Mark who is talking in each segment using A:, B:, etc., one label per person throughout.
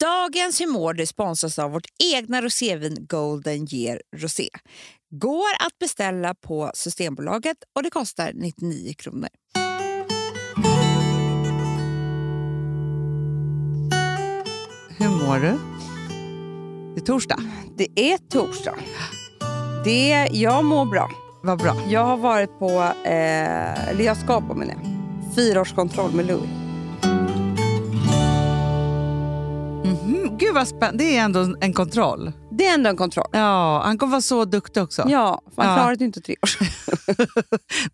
A: Dagens humor det sponsras av vårt egna rosévin Golden Year Rosé. Går att beställa på Systembolaget och det kostar 99 kronor.
B: Hur mår du? Det är torsdag.
A: Det är torsdag. Det, jag mår bra.
B: Vad bra.
A: Jag har varit på, eh, eller jag ska på menar jag, fyraårskontroll med Louis.
B: Mhm, Gud vad spännande. Det är ändå en kontroll.
A: Det är ändå en kontroll.
B: Ja, han kommer vara så duktig också.
A: Ja, för han
B: Ja.
A: klarade ju inte tre år.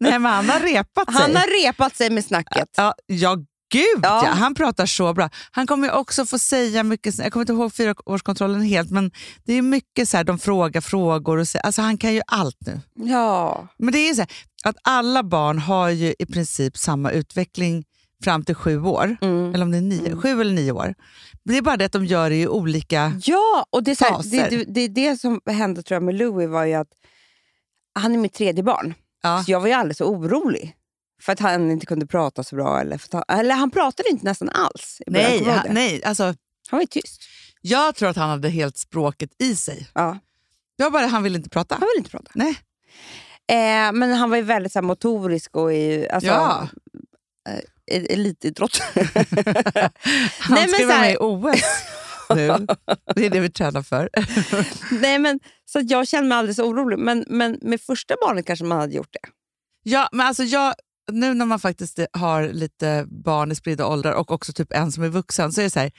B: Nej, men han har repat sig.
A: Han har repat sig med snacket.
B: Ja, ja gud ja.
A: Ja.
B: Han pratar så bra. Han kommer ju också få säga mycket, jag kommer inte ihåg fyraårskontrollen helt, men det är mycket så här, de frågar frågor. Och så, alltså han kan ju allt nu.
A: Ja.
B: Men det är ju så här, att alla barn har ju i princip samma utveckling fram till sju år.
A: Mm. Mm.
B: Eller om det är nio, sju eller nio år. Det är bara det att de gör det i olika...
A: Ja, och det, är så här,
B: Faser.
A: det, det, det, är det som hände tror jag, med Louis var ju att han är mitt tredje barn.
B: Ja.
A: Så jag var ju alldeles orolig för att han inte kunde prata så bra. Eller, för att han, eller han pratade inte nästan alls. i början,
B: Nej,
A: kommer du ihåg det?
B: han, nej alltså,
A: han var ju tyst.
B: jag tror att han hade helt språket i sig.
A: Ja,
B: Det var bara han ville inte prata.
A: han ville inte prata.
B: Nej.
A: Eh, men han var ju väldigt så här, motorisk och i, alltså,
B: Ja.
A: eh, elitidrottare.
B: Han
A: Nej, men
B: ska
A: så
B: vara
A: här-
B: med i OS nu. Det är det vi tränar för.
A: Nej, men, så att jag kände mig alldeles orolig. Men, men med första barnet kanske man hade gjort det.
B: Ja, men alltså jag, nu när man faktiskt har lite barn i spridda åldrar och också typ en som är vuxen så är det så här,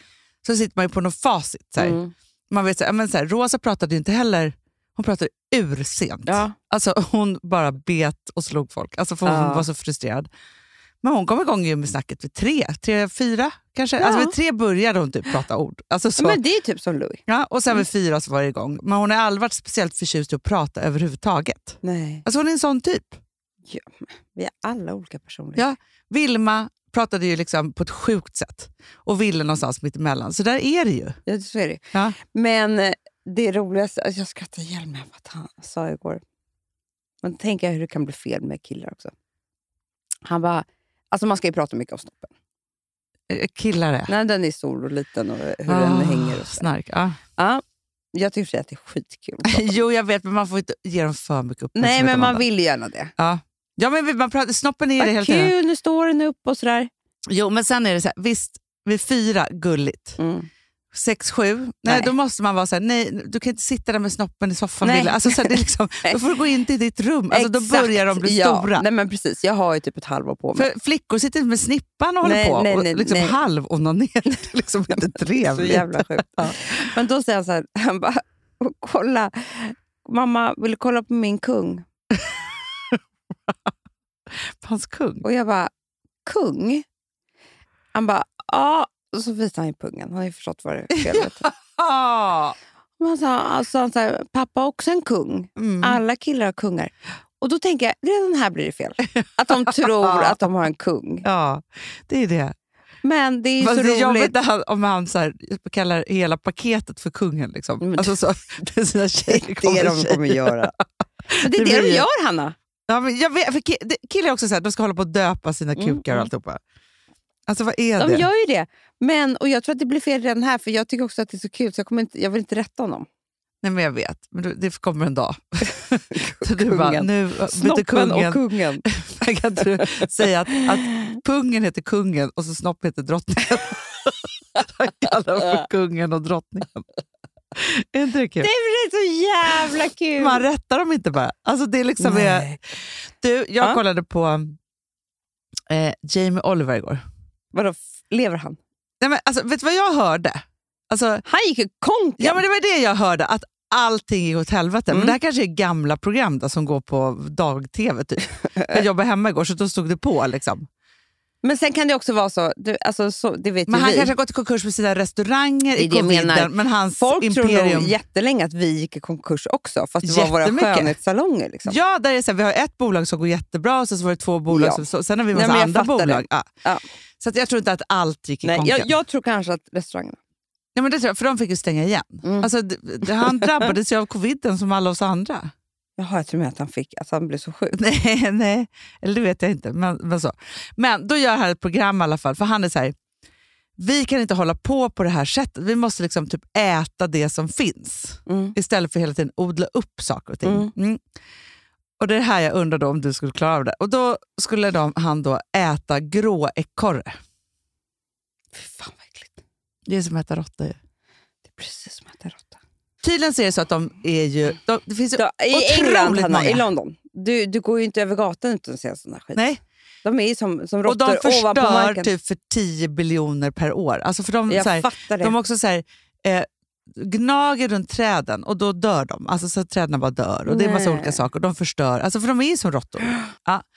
B: så sitter man ju på något facit. Så här.
A: Mm.
B: Man vet så här, ja, men så här, Rosa pratade ju inte heller, hon pratade ursent.
A: Ja.
B: Alltså, hon bara bet och slog folk, alltså, för hon
A: Ja.
B: var så frustrerad. Men hon kom igång ju med snacket vid tre, tre fyra kanske. Alltså,
A: Ja.
B: vid tre började hon typ prata ord. Alltså, så.
A: Men det är typ som Louis.
B: Ja, och sen vid fyra så var det igång. Men hon har aldrig varit speciellt förtjust i att prata överhuvudtaget.
A: Nej,
B: Alltså hon är en sån typ.
A: vi är alla olika personer.
B: Ja. Vilma pratade ju liksom på ett sjukt sätt och ville någonstans mitt emellan. Så där är det ju.
A: Ja, så är det.
B: Ja.
A: Men eh, det roligaste, alltså jag skrattar ihjäl mig av vad han sa igår. Men tänk er hur det kan bli fel med killar också. Han bara, alltså man ska ju prata mycket om snoppen.
B: Eh, Killar det.
A: När den är stor och liten och hur
B: Ah,
A: den hänger. Och så.
B: Snark. Ja.
A: Ja, jag tycker i och för sig att det är skitkul. att prata.
B: Jo, jag vet, men man får inte ge dem för mycket uppmärksamhet.
A: Nej, men man
B: Amanda.
A: vill ju gärna det.
B: Ja. Ja, men vi- man pratar, snoppen är det hela
A: Vad
B: tiden.
A: kul, nu står den upp och sådär.
B: Jo, men sen är det så här, visst, vid fyra, gulligt.
A: Mm.
B: sex, sju, nej,
A: Nej.
B: då måste man vara så här, nej, du kan inte sitta där med snoppen i soffan.
A: Nej.
B: Lilla. Alltså, så här, det är liksom, då får du gå in till ditt rum. Alltså, då
A: Exakt,
B: börjar de bli
A: ja.
B: stora.
A: Nej, men precis. Jag har ju typ ett halvår på mig.
B: För flickor sitter inte med snippan och håller
A: Nej,
B: på
A: nej,
B: och
A: nej,
B: liksom
A: nej.
B: halvonanerar. Det är liksom inte
A: Så
B: trevligt.
A: jävla sjukt.
B: Ja.
A: Men då säger han så här, han bara, kolla, mamma, vill du kolla på min kung?
B: Hans kung.
A: Och jag bara, kung? Han bara, ja. Och så visar han ju pungen, han har ju förstått vad det är fel. vet du.
B: Ah,
A: Men han sa, alltså, han sa, pappa har också en kung.
B: mm.
A: Alla killar har kungar. Och då tänker jag, redan här blir det fel. Att de tror att de har en kung.
B: Ja, det är det.
A: Men det är ju
B: Fast
A: så
B: det är jobbigt
A: roligt.
B: när han, om han så här, kallar hela paketet för kungen. Liksom.
A: Men
B: Alltså, så, det är sina tjejer kommer tjejer.
A: göra. Men det är
B: Det
A: det,
B: blir
A: de
B: ju-
A: gör, Hanna.
B: Ja, men jag vet, för ki- det- killar är också så här, de ska hålla på att döpa sina
A: Mm,
B: kukar och
A: mm.
B: alltihopa. Alltså vad är
A: De
B: det?
A: gör ju det. Men, och jag tror att det blir fel redan här, för jag tycker också att det är så kul, så jag, kommer inte, jag vill inte rätta honom.
B: Nej, men jag vet, men du- det kommer en dag. så du bara,
A: Kungen.
B: nu byter
A: Snoppen
B: kungen.
A: och kungen.
B: kan inte du säga att, att pungen heter kungen och så snopp heter drottningen. Han kallar dem för kungen och drottningen. Är inte det kul?
A: Det är så jävla kul!
B: Man rättar dem inte bara. Alltså det är liksom är,
A: Nej.
B: du, jag
A: Ja.
B: kollade på eh, Jamie Oliver igår.
A: Vadå, f- lever han?
B: Nej, men, alltså, vet du vad jag hörde? Alltså,
A: Han gick ju konken!
B: Ja, men det var det jag hörde, att allting gick åt helvete. Men
A: Mm.
B: det här kanske är gamla program då, som går på dag-tv. Typ. jag jobbade hemma igår, så då stod det på. Liksom.
A: Men sen kan det också vara så, du, alltså, så det vet
B: Men
A: ju
B: han
A: vi.
B: kanske har gått i konkurs med sina restauranger
A: Det
B: i
A: är det jag
B: coviden,
A: menar.
B: men hans
A: Folk tror
B: imperium...
A: nog jättelänge att vi gick i konkurs också, fast det var våra
B: Jättemycket.
A: skönhetssalonger. Liksom.
B: Ja, där är det så här, vi har ett bolag som går jättebra, och sen så var det två bolag
A: Ja.
B: som... Så, sen har vi en
A: Nej,
B: massa
A: men jag
B: andra
A: fattar
B: bolag.
A: det.
B: Ja.
A: Ja.
B: Så att jag tror inte att allt gick i
A: Nej,
B: konken.
A: jag, jag tror kanske att restaurangerna...
B: Nej, men det tror jag, för de fick ju stänga igen.
A: Mm.
B: Alltså, det, det, han drabbades ju av coviden som alla oss andra.
A: Jaha, jag tror med att han fick, att han blev så sjuk.
B: Nej, nej. Eller det vet jag inte. Men, men, så. men då gör han ett program i alla fall. För han är så här, vi kan inte hålla på på det här sättet. Vi måste liksom typ äta det som finns
A: Mm.
B: istället för hela tiden odla upp saker och ting.
A: Mm.
B: Mm. Och Det är det här jag undrar då om du skulle klara av det. Och Då skulle de, han då äta grå ekorre.
A: Fy fan vad äckligt.
B: Det är som att äta råtta ju.
A: Det är precis som att äta råtta.
B: Tydligen så är det så att de är ju... De, det finns ju
A: Då, I
B: Alltså, otroligt
A: England, Hanna,
B: många.
A: i London. Du, du går ju inte över gatan utan att se en sån här skit.
B: Nej,
A: De är ju som, som
B: och de
A: råttor ovanpå
B: förstör
A: marken.
B: typ för 10 biljoner per år. Alltså för de,
A: jag
B: så här,
A: fattar det.
B: de också så här, eh, gnager runt träden och då dör de. Alltså så att träden bara dör och det är en massa
A: Nej.
B: olika saker. De förstör, alltså för de är ju som råttor.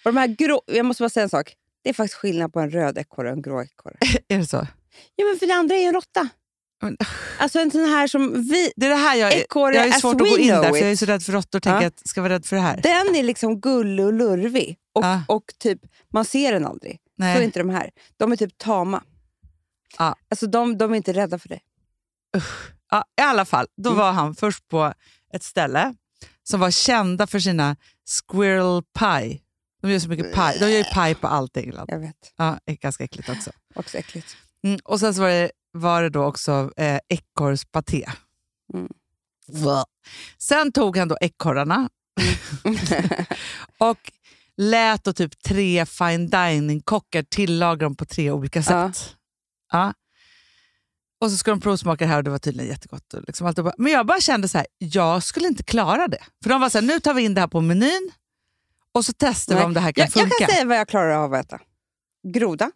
A: Och de här grå, jag måste bara säga en sak. Det är faktiskt skillnad på en röd ekorre och en grå ekorre.
B: är det så?
A: Ja, men för det andra är ju en råtta.
B: Men-
A: Alltså en sån här som vi...
B: Det är det här jag,
A: Ekorre
B: jag är
A: as
B: svårt att
A: we
B: gå in
A: know
B: där för
A: it.
B: jag är så rädd för råttor och tänker
A: Ja.
B: att ska jag vara rädd för det här.
A: Den är liksom gullig och lurvig. Och,
B: Ja.
A: och typ, man ser den aldrig. Så är
B: Ah. Nej. Ah.
A: inte de här. De är typ tama.
B: Ja.
A: Alltså de, de är inte rädda för dig.
B: Ja, I alla fall, då
A: Mm.
B: var han först på ett ställe som var kända för sina squirrel pie. De gör så mycket paj. De gör ju paj på allt i England.
A: Jag vet.
B: Ja, det är ganska äckligt också.
A: Också äckligt.
B: Mm, och sen så var det, var det då också eh, ekorrspaté.
A: Mm.
B: Vå. Sen tog han då ekorrarna
A: Mm.
B: och lät då typ tre fine dining-kockar tillaga dem på tre olika
A: Ja.
B: sätt. Ja. Och så ska de provsmaka det här och det var tydligen jättegott. Och liksom allt och bara. Men jag bara kände så här, jag skulle inte klara det. För de var så här, nu tar vi in det här på menyn och så testar vi
A: Nej.
B: om det här kan
A: jag, jag
B: funka.
A: kan säga vad jag klarar av att äta. Groda.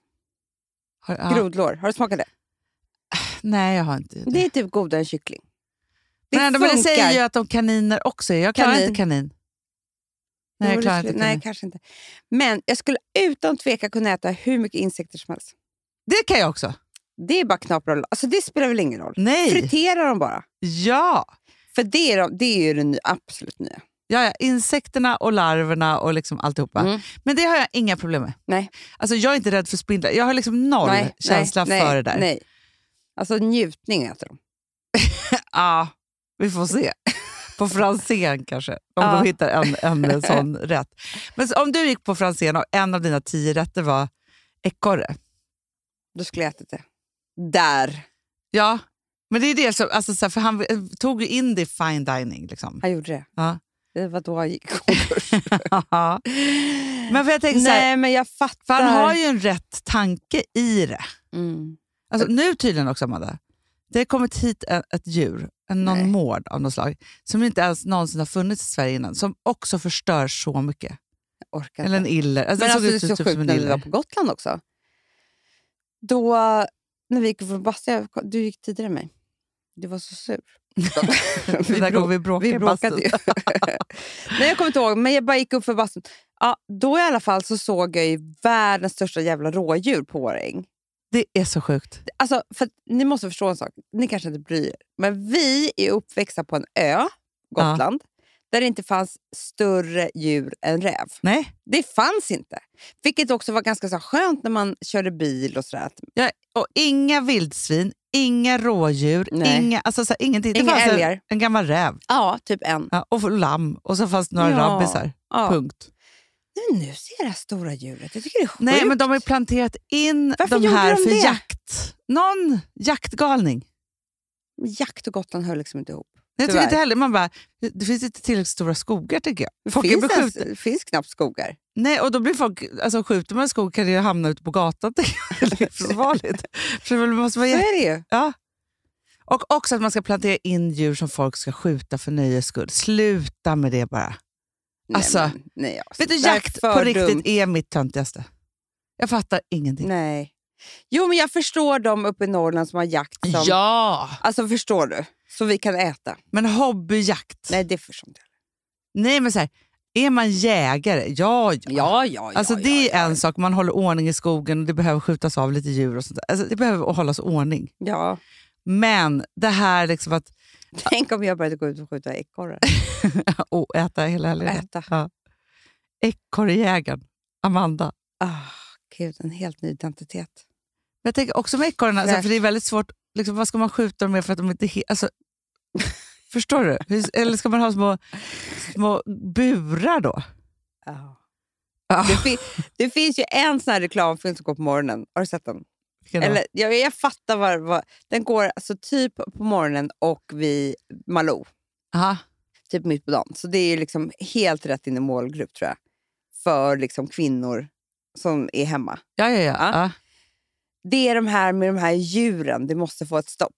B: Har- ja.
A: Grodlår. Har du smakat det?
B: Nej, jag har inte gjort det.
A: Det är typ godare än kyckling. Det
B: Men
A: funkar.
B: det säger ju att de kaniner också är. Jag klarar
A: Kanin.
B: inte kanin. Nej,
A: Jo,
B: jag
A: det
B: klarar
A: skulle-
B: inte kanin.
A: Nej, kanske inte. Men jag skulle utan tvekan kunna äta hur mycket insekter som helst.
B: Det kan jag också.
A: Det är bara knaprar och- Alltså Det spelar väl ingen roll?
B: Nej.
A: Fritera dem bara.
B: Ja.
A: För det är, de- det är ju det ny, absolut nya.
B: Ja, ja, insekterna och larverna och liksom alltihopa.
A: Mm.
B: Men det har jag inga problem med.
A: Nej.
B: Alltså, jag är inte rädd för spindlar. Jag har liksom noll känsla
A: nej,
B: för
A: nej,
B: det där.
A: Nej. Alltså njutning äter de.
B: Ja, vi får se. På Franzén kanske, om
A: Ja.
B: de hittar en, en sån rätt. Men så, om du gick på Franzén och en av dina tio rätter var ekorre.
A: Då skulle jag ätit det. Där!
B: Ja, men det är det som, alltså, så här, för han eh, tog ju in det i fine dining. Liksom.
A: Han gjorde det.
B: Ja.
A: Det var då han gick i konkurs.
B: men för jag tänker så här,
A: Nej, men jag fattar.
B: för han har ju en rätt tanke i det.
A: Mm.
B: Alltså, nu tydligen också, Amanda. Det har kommit hit ett, ett djur, en någon
A: Nej.
B: mård av något slag, som inte ens någonsin har funnits i Sverige innan, som också förstör så mycket.
A: Jag orkar
B: Eller
A: inte.
B: en iller. Alltså,
A: Men
B: den
A: alltså,
B: såg
A: det
B: ut
A: är så
B: typ
A: sjukt
B: som en
A: när vi var
B: iller.
A: på Gotland också. Då, när vi gick från bastun, jag- du gick tidigare än mig. Du var så sur.
B: Den där gången
A: bråk-
B: vi bråkade
A: vi
B: i bastun.
A: bråkade ju. Nej, jag kommer inte ihåg, men jag bara gick upp för bastun. Ja, då i alla fall så såg jag ju världens största jävla rådjur på vår äng.
B: Det är så sjukt.
A: Alltså, för att, ni måste förstå en sak, ni kanske inte bryr er. Men vi är uppväxta på en ö, Gotland, där det inte fanns större djur än räv.
B: Nej,
A: Det fanns inte. Vilket också var ganska så här skönt när man körde bil och sådär. att-
B: och inga vildsvin, inga rådjur,
A: Nej.
B: inga, alltså, så här, ingenting. Det
A: Inga
B: fanns en,
A: älgar.
B: en gammal räv
A: Ja, typ en.
B: ja, och lamm och så fanns det några
A: Ja.
B: rabbisar.
A: Ja.
B: Punkt.
A: Nu, nu ser jag det här stora djuret. Jag tycker det är sjukt.
B: Nej, men de har ju planterat in
A: Varför
B: de
A: gjorde
B: här
A: de
B: för
A: det?
B: jakt. Någon jaktgalning.
A: Jakt och Gotland hör liksom inte ihop.
B: Jag tycker
A: Tyvärr.
B: inte heller, man bara, det finns inte tillräckligt stora skogar tycker jag. Folk
A: finns,
B: blir
A: ens,
B: skjutna.
A: finns knappt skogar.
B: Nej, och då blir folk, alltså skjuter man en skog kan det ju hamna ute på gatan. Det är livsfarligt. Så det måste vara
A: Så
B: jätte-
A: är det ju.
B: ja. Och också att man ska plantera in djur som folk ska skjuta för nöjes skull. Sluta med det bara. Alltså,
A: nej, men, nej, alltså,
B: Vet du,
A: det där är
B: jakt
A: för
B: på riktigt
A: dumt.
B: är mitt töntigaste. Jag fattar ingenting.
A: Nej. Jo, men jag förstår de uppe i Norrland som har jakt. Som,
B: Ja!
A: Alltså, förstår du? Så vi kan äta.
B: Men hobbyjakt. Nej,
A: Nej, det förstår inte
B: men så här, är man jägare? Ja, ja.
A: jag. Ja, ja, ja.
B: Alltså
A: ja,
B: det
A: ja.
B: är en sak, man håller ordning i skogen och det behöver skjutas av lite djur och sånt där. Alltså, det behöver hållas ordning.
A: Ja.
B: Men det här liksom att
A: Tänk om jag började gå ut och skjuta ekorre.
B: oh, äta hela helgen.
A: Äta.
B: Ja. Ekorrejägaren, Amanda.
A: Ah, Gud, en helt ny identitet.
B: Men jag tänker också med ekorrarna, alltså,
A: Fräscht.
B: för det är väldigt svårt, liksom, vad ska man skjuta dem med för att de inte he- alltså, Förstår du? Hur- Eller ska man ha små, små burar då?
A: Ja.
B: Ja.
A: Ah. Det, fin- det finns ju en sån här reklamfilm som går på morgonen. Har du sett den?
B: Vilken då?
A: Eller, jag, jag fattar vad, vad... Den går alltså typ på morgonen och vid Malou.
B: Aha.
A: typ mitt på dagen. Så det är ju liksom helt rätt in i målgrupp tror jag. För liksom kvinnor som är hemma.
B: Ja, ja, ja.
A: Ja.
B: ja.
A: Det är de här med de här djuren, det måste få ett stopp.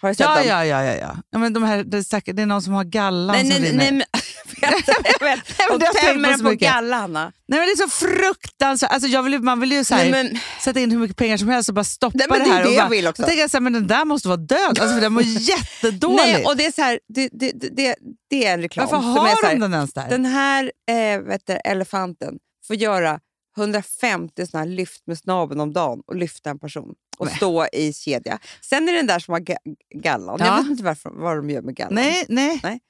A: Har du sett
B: Ja,
A: dem?
B: ja, ja, ja, ja. ja men de här, det, är säkert, det är någon som har gallan
A: Nej,
B: som
A: nej, nej, nej,
B: rinner.
A: men- jag vet, jag vet.
B: men
A: Och
B: det har jag tänkt på
A: tämmer den
B: så
A: på
B: mycket.
A: gallan, Hanna.
B: Nej, men det är så fruktansvärt. Alltså, jag vill, ju- man vill ju så här,
A: Nej, men,
B: sätta in hur mycket pengar som helst och bara stoppa
A: nej, men det
B: det här.
A: är det jag
B: och bara,
A: vill också.
B: då tänker jag så här, men den där måste vara död. Alltså, för den mår jättedåligt.
A: Nej, och det är så här, det, det, det- det, det är en reklam.
B: Varför
A: som är så
B: har
A: här,
B: de den ens där?
A: den här eh, vet du, elefanten får göra 150 såna här lyft med snabeln om dagen och lyfta en person och
B: Nej.
A: stå i kedja. Sen är det den där som har ga- gallan.
B: Ja.
A: Jag vet inte varför, vad de gör med gallan.
B: Nej, nej.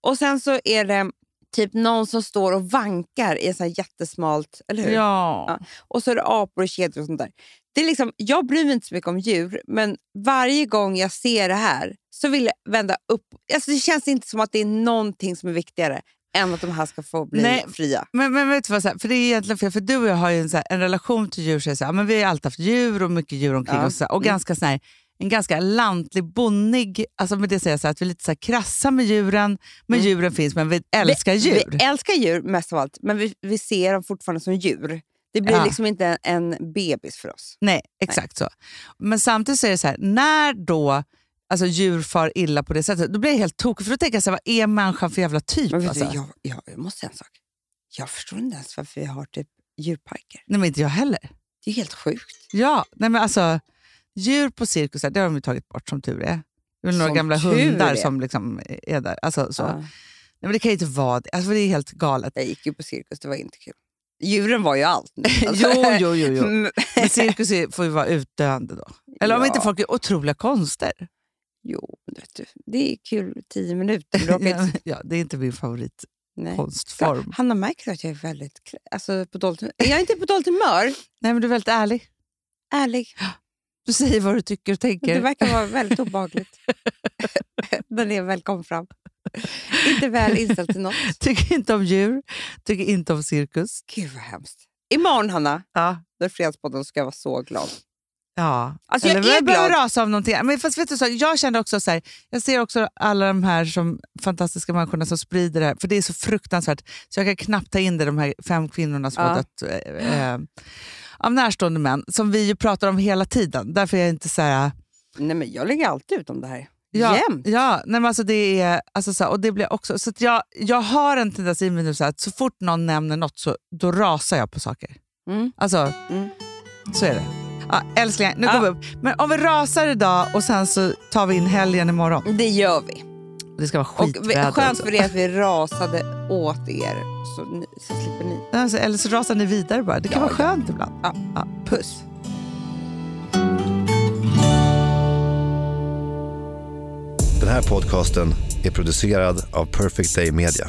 A: Och sen så är det typ någon som står och vankar i en sån här jättesmalt... Eller hur?
B: Ja.
A: Ja. Och så är det apor och kedjor och sånt där. Det är liksom, jag bryr mig inte så mycket om djur, men varje gång jag ser det här så vill jag vända upp... Alltså det känns inte som att det är någonting som är viktigare än att de här ska få bli
B: Nej.
A: fria.
B: Men, men vet du vad, så här, för det är egentligen fel, för du och jag har ju en, så här, en relation till djur. Så här, så här, men vi har ju alltid haft djur och mycket djur omkring
A: Ja.
B: oss. så här, Och
A: Mm.
B: ganska så här, en ganska lantlig, bonnig, alltså med det säger jag så här, att vi är lite så här krassa med djuren, men
A: Mm.
B: djuren finns, men vi älskar djur.
A: Vi älskar djur mest av allt, men vi, vi ser dem fortfarande som djur. Det blir
B: Ja.
A: liksom inte en, en bebis för oss.
B: Nej, exakt så. Men samtidigt så är det så här, när då alltså, djur far illa på det sättet, då blir jag helt tokig. För då tänker jag så här, vad är människan för jävla typ?
A: Men vet
B: alltså?
A: du, jag, jag, jag måste säga en sak. Jag förstår inte ens varför vi har typ djurparker.
B: Nej, men inte jag heller.
A: Det är helt sjukt.
B: Ja, nej, men alltså, djur på cirkusar, det har de ju tagit bort som tur är. Det är väl några
A: Som
B: gamla
A: tur
B: hundar
A: är.
B: som liksom är där. Alltså, så. Nej,
A: Ja.
B: men det kan ju inte vara det. Alltså, det är helt galet.
A: Jag gick ju på cirkus, det var inte kul. Djuren var ju allt. nu. Alltså,
B: Jo, jo, jo. jo.
A: mm,
B: Men cirkus är- får ju vara utdöende då. Eller om
A: Ja.
B: inte folk är otroliga konster.
A: jo, men vet du, det är kul i tio minuter. men det råkar inte-
B: Ja, det är inte min favoritkonstform.
A: Nej. Hanna, märker du att jag är väldigt... krä- Alltså, på dåligt, humör? jag är inte på dåligt humör,
B: Nej, men du är väldigt ärlig.
A: ärlig.
B: Du säger vad du tycker och tänker.
A: Det verkar vara väldigt obehagligt. Den är välkommen fram. Inte väl inställd till något.
B: Tycker inte om djur, tycker inte om cirkus.
A: Gud vad hemskt. Imorgon Hanna,
B: Ja.
A: när det är Fredagspodden, ska jag vara så glad.
B: Ja.
A: Alltså, jag
B: men
A: är
B: börjar
A: glad.
B: rasa av någonting. Men fast vet du, så, jag kände också så här, jag ser också alla de här som, fantastiska människorna som sprider det här, för det är så fruktansvärt. Så jag kan knappt ta in det, de här fem kvinnorna som
A: Ja.
B: har dött eh, eh, av närstående män, som vi ju pratar om hela tiden. Därför är jag inte så här...
A: Nej, men jag lägger alltid ut om det här.
B: Ja,
A: Jämt.
B: ja nej, men alltså det är, alltså så här, och det blir också, så att jag, jag har en tendens i mig nu så här, att så fort någon nämner något så då rasar jag på saker.
A: Mm.
B: Alltså,
A: Mm.
B: så är det. Ja, älskling, nu
A: Ja.
B: går vi upp. Men om vi rasar idag och sen så tar vi in helgen imorgon.
A: Det gör vi.
B: Det ska vara
A: Och vi,
B: skitväder. alltså.
A: skönt
B: också.
A: för er att vi rasade åt er, så, ni, så slipper ni. Ah,
B: Alltså, eller så rasar ni vidare bara. Det kan
A: Ja,
B: vara skönt ibland.
A: Ja.
B: Ja, puss.
C: Den här podcasten är producerad av Perfect Day Media.